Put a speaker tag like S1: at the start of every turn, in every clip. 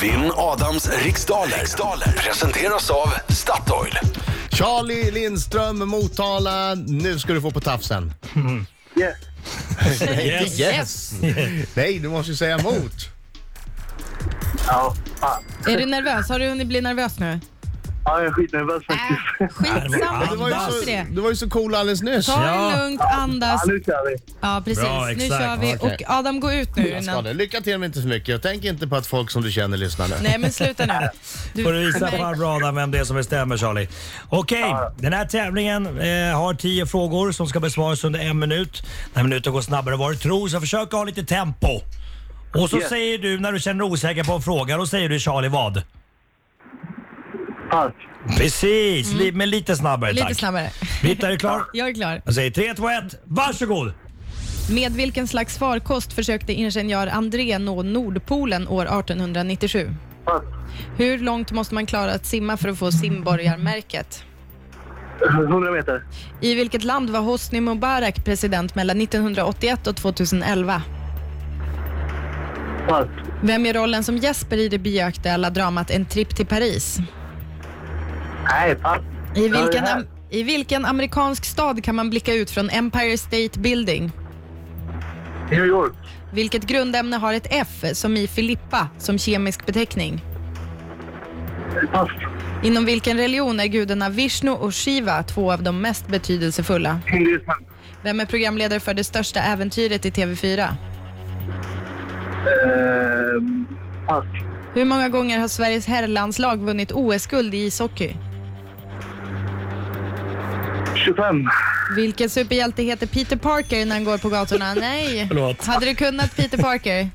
S1: Vinn Adams riksdaler. riksdaler presenteras av Statoil.
S2: Charlie Lindström, Motala. Nu ska du få på tafsen.
S3: Yes.
S2: Yes. yes. Nej, du måste ju säga emot.
S3: Ja, fan.
S4: Är du nervös? Har du hunnit bli nervös nu?
S3: Ja, jag är skitnervös faktiskt.
S4: Äh, skitsamma,
S2: Du var ju
S4: skit
S2: så,
S4: i det.
S2: du var ju så cool alldeles nyss.
S4: Ta
S5: Ja.
S4: det lugnt, andas.
S3: Ja, nu kör vi.
S4: Ja, precis.
S5: Bra,
S4: nu
S5: exakt.
S4: kör vi.
S2: Okej.
S4: Och Adam, gå ut nu.
S2: Jag ska
S4: Innan...
S2: det. Lycka till men inte för mycket. Och tänk inte på att folk som du känner lyssnar nu.
S4: Nej, men sluta nu. Du-
S5: Får du visa
S4: Nej.
S5: farbror Adam vem det är som bestämmer Charlie. Okej, den här tävlingen eh, har 10 frågor som ska besvaras under en minut. Den här minuten går snabbare än vad du tror så försök ha lite tempo. Och så
S3: Yes.
S5: säger du när du känner dig osäker på en fråga, då säger du Charlie vad?
S3: Pass.
S5: Precis,
S3: Mm.
S5: li- men lite snabbare
S4: Lite
S5: tack.
S4: snabbare.
S5: Britta är du klar?
S4: Jag är klar.
S5: Jag säger 3, 2, 1, varsågod!
S4: Med vilken slags farkost försökte ingenjör André nå Nordpolen år 1897?
S3: Pass.
S4: Hur långt måste man klara att simma för att få simborgarmärket?
S3: 100 meter.
S4: I vilket land var Hosni Mubarak president mellan 1981 och 2011?
S3: Pass.
S4: Vem är rollen som Jesper i det bioaktuella dramat En tripp till Paris?
S3: Nej, pass.
S4: I
S3: Ja, det
S4: vilken,
S3: här.
S4: am- I vilken amerikansk stad kan man blicka ut från Empire State Building?
S3: New York.
S4: Vilket grundämne har ett F, som i Filippa, som kemisk beteckning?
S3: Pass.
S4: Inom vilken religion är gudarna Vishnu och Shiva två av de mest betydelsefulla?
S3: Hinduismen.
S4: Vem är programledare för det största äventyret i TV4?
S3: Ehm, pass.
S4: Hur många gånger har Sveriges herrlandslag vunnit OS-guld i ishockey?
S3: 25.
S4: Vilken superhjälte heter Peter Parker när han går på gatorna? Nej!
S5: Förlåt.
S4: Hade du kunnat Peter Parker?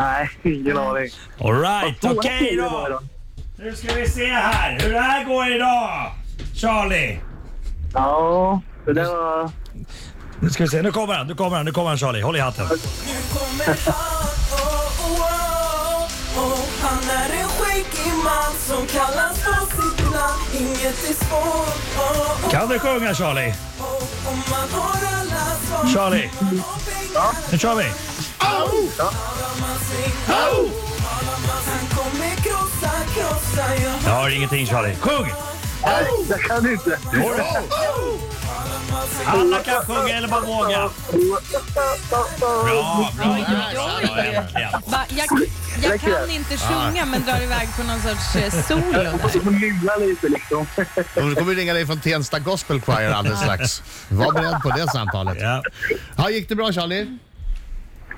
S3: Nej, ingen aning.
S5: Alright,
S3: Svåra
S5: okej
S3: frågor var det
S5: då! Nu ska vi se här hur det här går idag! Charlie!
S3: Ja, det där var...
S5: Nu ska vi se, nu kommer han, nu kommer han, nu kommer han Charlie. Håll i hatten.
S6: Nu kommer han, oh, oh, oh, oh. Han är en skäggig man som kallas på sitt namn Inget är svårt, oh, oh,
S5: Kan du sjunga Charlie?
S6: oh. Om man har alla svar
S5: Charlie,
S6: Man har pengar,
S5: nu kör vi!
S6: har man sin Har man- Han kommer krossa, krossa, ja
S5: Jag hör ingenting Charlie. Sjung!
S3: Nej, jag kan inte.
S5: Går det? Alla kan sjunga eller bara våga. Bra, bra. Äntligen.
S4: Va, jag, jag kan inte sjunga men drar iväg på någon sorts eh, solo där.
S3: Du får mygla lite liksom.
S2: De kommer ringa dig från Tensta Gospel Choir alldeles strax. Var beredd på det samtalet.
S5: Ja.
S2: Ja, gick det bra Charlie?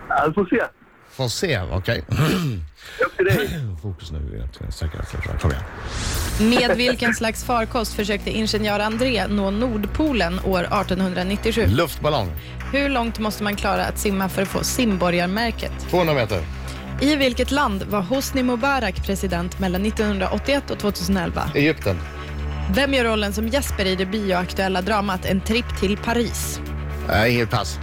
S3: Ja, vi får se.
S2: Får se, okej.
S3: Upp till dig.
S2: Fokus nu. egentligen. Säkert, säkert. Kom igen.
S4: Med vilken slags farkost försökte ingenjör André nå Nordpolen år 1897?
S2: Luftballong.
S4: Hur långt måste man klara att simma för att få simborgarmärket?
S2: 200 meter.
S4: I vilket land var Hosni Mubarak president mellan 1981 och 2011?
S2: Egypten.
S4: Vem gör rollen som Jesper i det bioaktuella dramat En tripp till Paris?
S2: Nej, inget pass.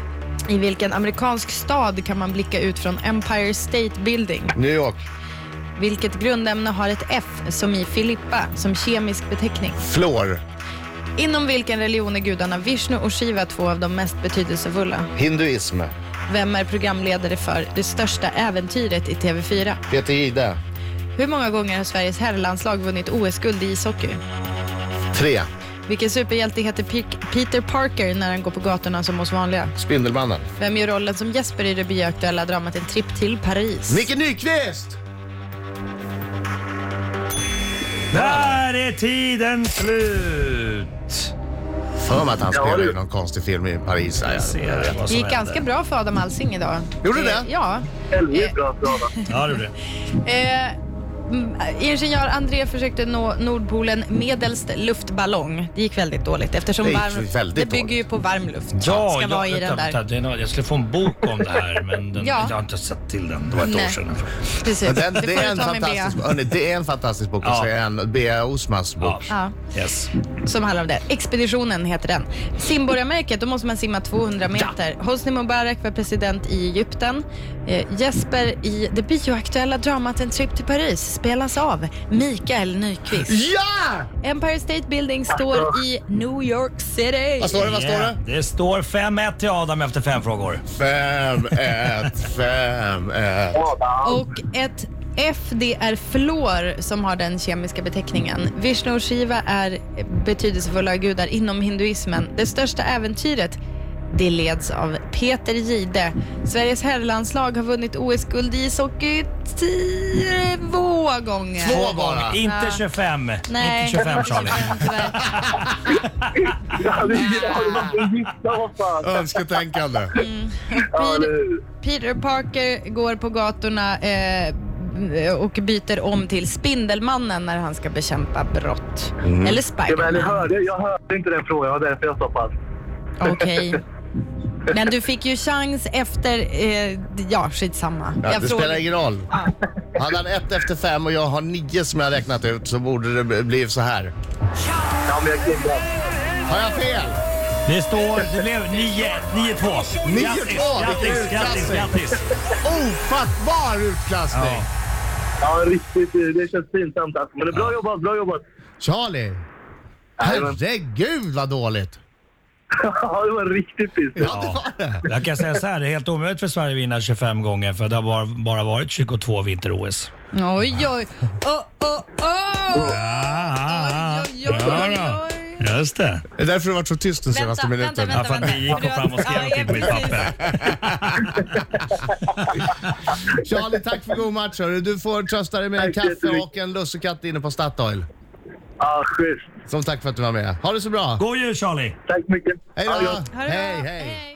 S4: I vilken amerikansk stad kan man blicka ut från Empire State Building?
S2: New York.
S4: Vilket grundämne har ett F, som i Filippa, som kemisk beteckning?
S2: Flor.
S4: Inom vilken religion är gudarna Vishnu och Shiva två av de mest betydelsefulla?
S2: Hinduism.
S4: Vem är programledare för Det största äventyret i TV4?
S2: Peter Gide.
S4: Hur många gånger har Sveriges herrlandslag vunnit OS-guld i ishockey?
S2: Tre.
S4: Vilken superhjälte heter Pe- Peter Parker när han går på gatorna som oss vanliga?
S2: Spindelmannen.
S4: Vem gör rollen som Jesper i det bioaktuella dramat En tripp till Paris?
S2: Micke Nyqvist!
S5: Där är tiden slut.
S2: För mig att han
S3: Ja,
S2: spelar
S3: du.
S2: i någon konstig film i Paris. Här.
S5: Ser vad
S4: Det
S5: som
S4: gick ganska
S5: händer.
S4: bra för Adam Alsing idag.
S2: Gjorde det?
S4: Eh, Ja.
S3: Helvete bra Sara.
S5: Ja, det gjorde det.
S4: Eh, mm, ingenjör André försökte nå Nordpolen medelst luftballong. Det gick väldigt dåligt eftersom
S2: Det gick
S4: varm,
S2: väldigt
S4: det bygger ju
S2: dåligt.
S4: på varm luft.
S5: Ja,
S4: ska vara i
S5: vänta,
S4: den där.
S5: vänta, det är nå- jag skulle få en bok om det här men den,
S4: Ja.
S5: jag har inte sett till den. Det var ett
S4: Nej.
S5: år sedan.
S4: Precis.
S2: Men Den,
S4: det,
S2: det,
S4: får
S2: är
S4: du
S2: en
S4: ta med Bea.
S2: fantastisk, hörni, det är en fantastisk bok.
S5: Ja.
S2: Ja. En Bea Osmans bok.
S4: Ja,
S5: Yes.
S4: som handlar om det. Expeditionen heter den. Simborgarmärket, då måste man simma 200 meter. Hosni Mubarak var president i Egypten. Eh, Jesper i det bioaktuella dramat En tripp till Paris spelas av Mikael Nyqvist.
S2: Ja!
S4: Empire State Building står i New York City.
S2: Vad
S5: Alltså,
S2: står det? Vad står det?
S5: det står 5-1 till Adam efter fem frågor.
S2: Fem, ett, fem, ett.
S3: Adam.
S4: Och ett F det är fluor som har den kemiska beteckningen. Vishnu och Shiva är betydelsefulla gudar inom hinduismen. Det största äventyret det leds av Peter Gide. Sveriges herrlandslag har vunnit OS-guld i ishockey två gånger.
S2: Två bara.
S5: Inte
S4: Ja.
S5: 25.
S4: Nej,
S5: Inte 25 Charlie.
S3: Ja,
S4: tyvärr.
S3: det har du varit gissa, vad fan.
S2: Önsketänkande.
S3: Ja, eller
S4: Peter,
S3: hur?
S4: Peter Parker går på gatorna eh, och byter om till Spindelmannen när han ska bekämpa brott. Eller
S3: Ja, men jag,
S4: Spiderman.
S3: hörde, jag hörde inte den frågan, det var därför jag sa pass.
S4: Okej. Men du fick ju chans efter... Eh, ja, skitsamma.
S2: Ja, det
S4: frågar-
S2: spelar ingen roll. Hade han ett efter fem och jag har nio som jag har räknat ut så borde det bli- bli så här.
S3: Ja, men jag gillar.
S2: Har jag fel?
S5: Det står, det blev 9 9-2.
S2: 9-2,
S5: Grattis,
S2: vilken
S5: Grattis, grattis,
S2: utklassning.
S5: grattis.
S2: Ofattbar utklassning!
S5: Ja.
S3: Ja, riktigt. Det känns pinsamt alltså. Men det är bra jobbat, bra jobbat.
S2: Charlie!
S3: Jajamän.
S2: Herregud vad dåligt!
S3: Ja, det var riktigt pinsamt.
S2: Ja, det var det.
S5: Jag kan säga så här, det är helt omöjligt för Sverige att vinna 25 gånger för det har bara, bara varit 22 vinter-OS.
S4: Oj, oj. Oh, oh, oh. Oj, oj, oj, oj.
S5: Just det.
S2: Det är därför du har varit så tyst den senaste minuten.
S5: Ja, för att ni gick och fram och skrev
S4: Ja,
S5: någonting på mitt
S4: precis.
S5: papper.
S2: Charlie, tack för god match. hörru. Du får trösta dig med en
S3: Tack så
S2: kaffe
S3: jättemycket.
S2: och en lussekatt inne på Statoil.
S3: Ja, schysst.
S2: Som tack för att du var med. Ha det så bra!
S5: God jul Charlie!
S3: Tack mycket.
S2: Hej
S3: Ha det
S2: då!
S3: gott.
S4: Ha det bra.
S2: hej! hej.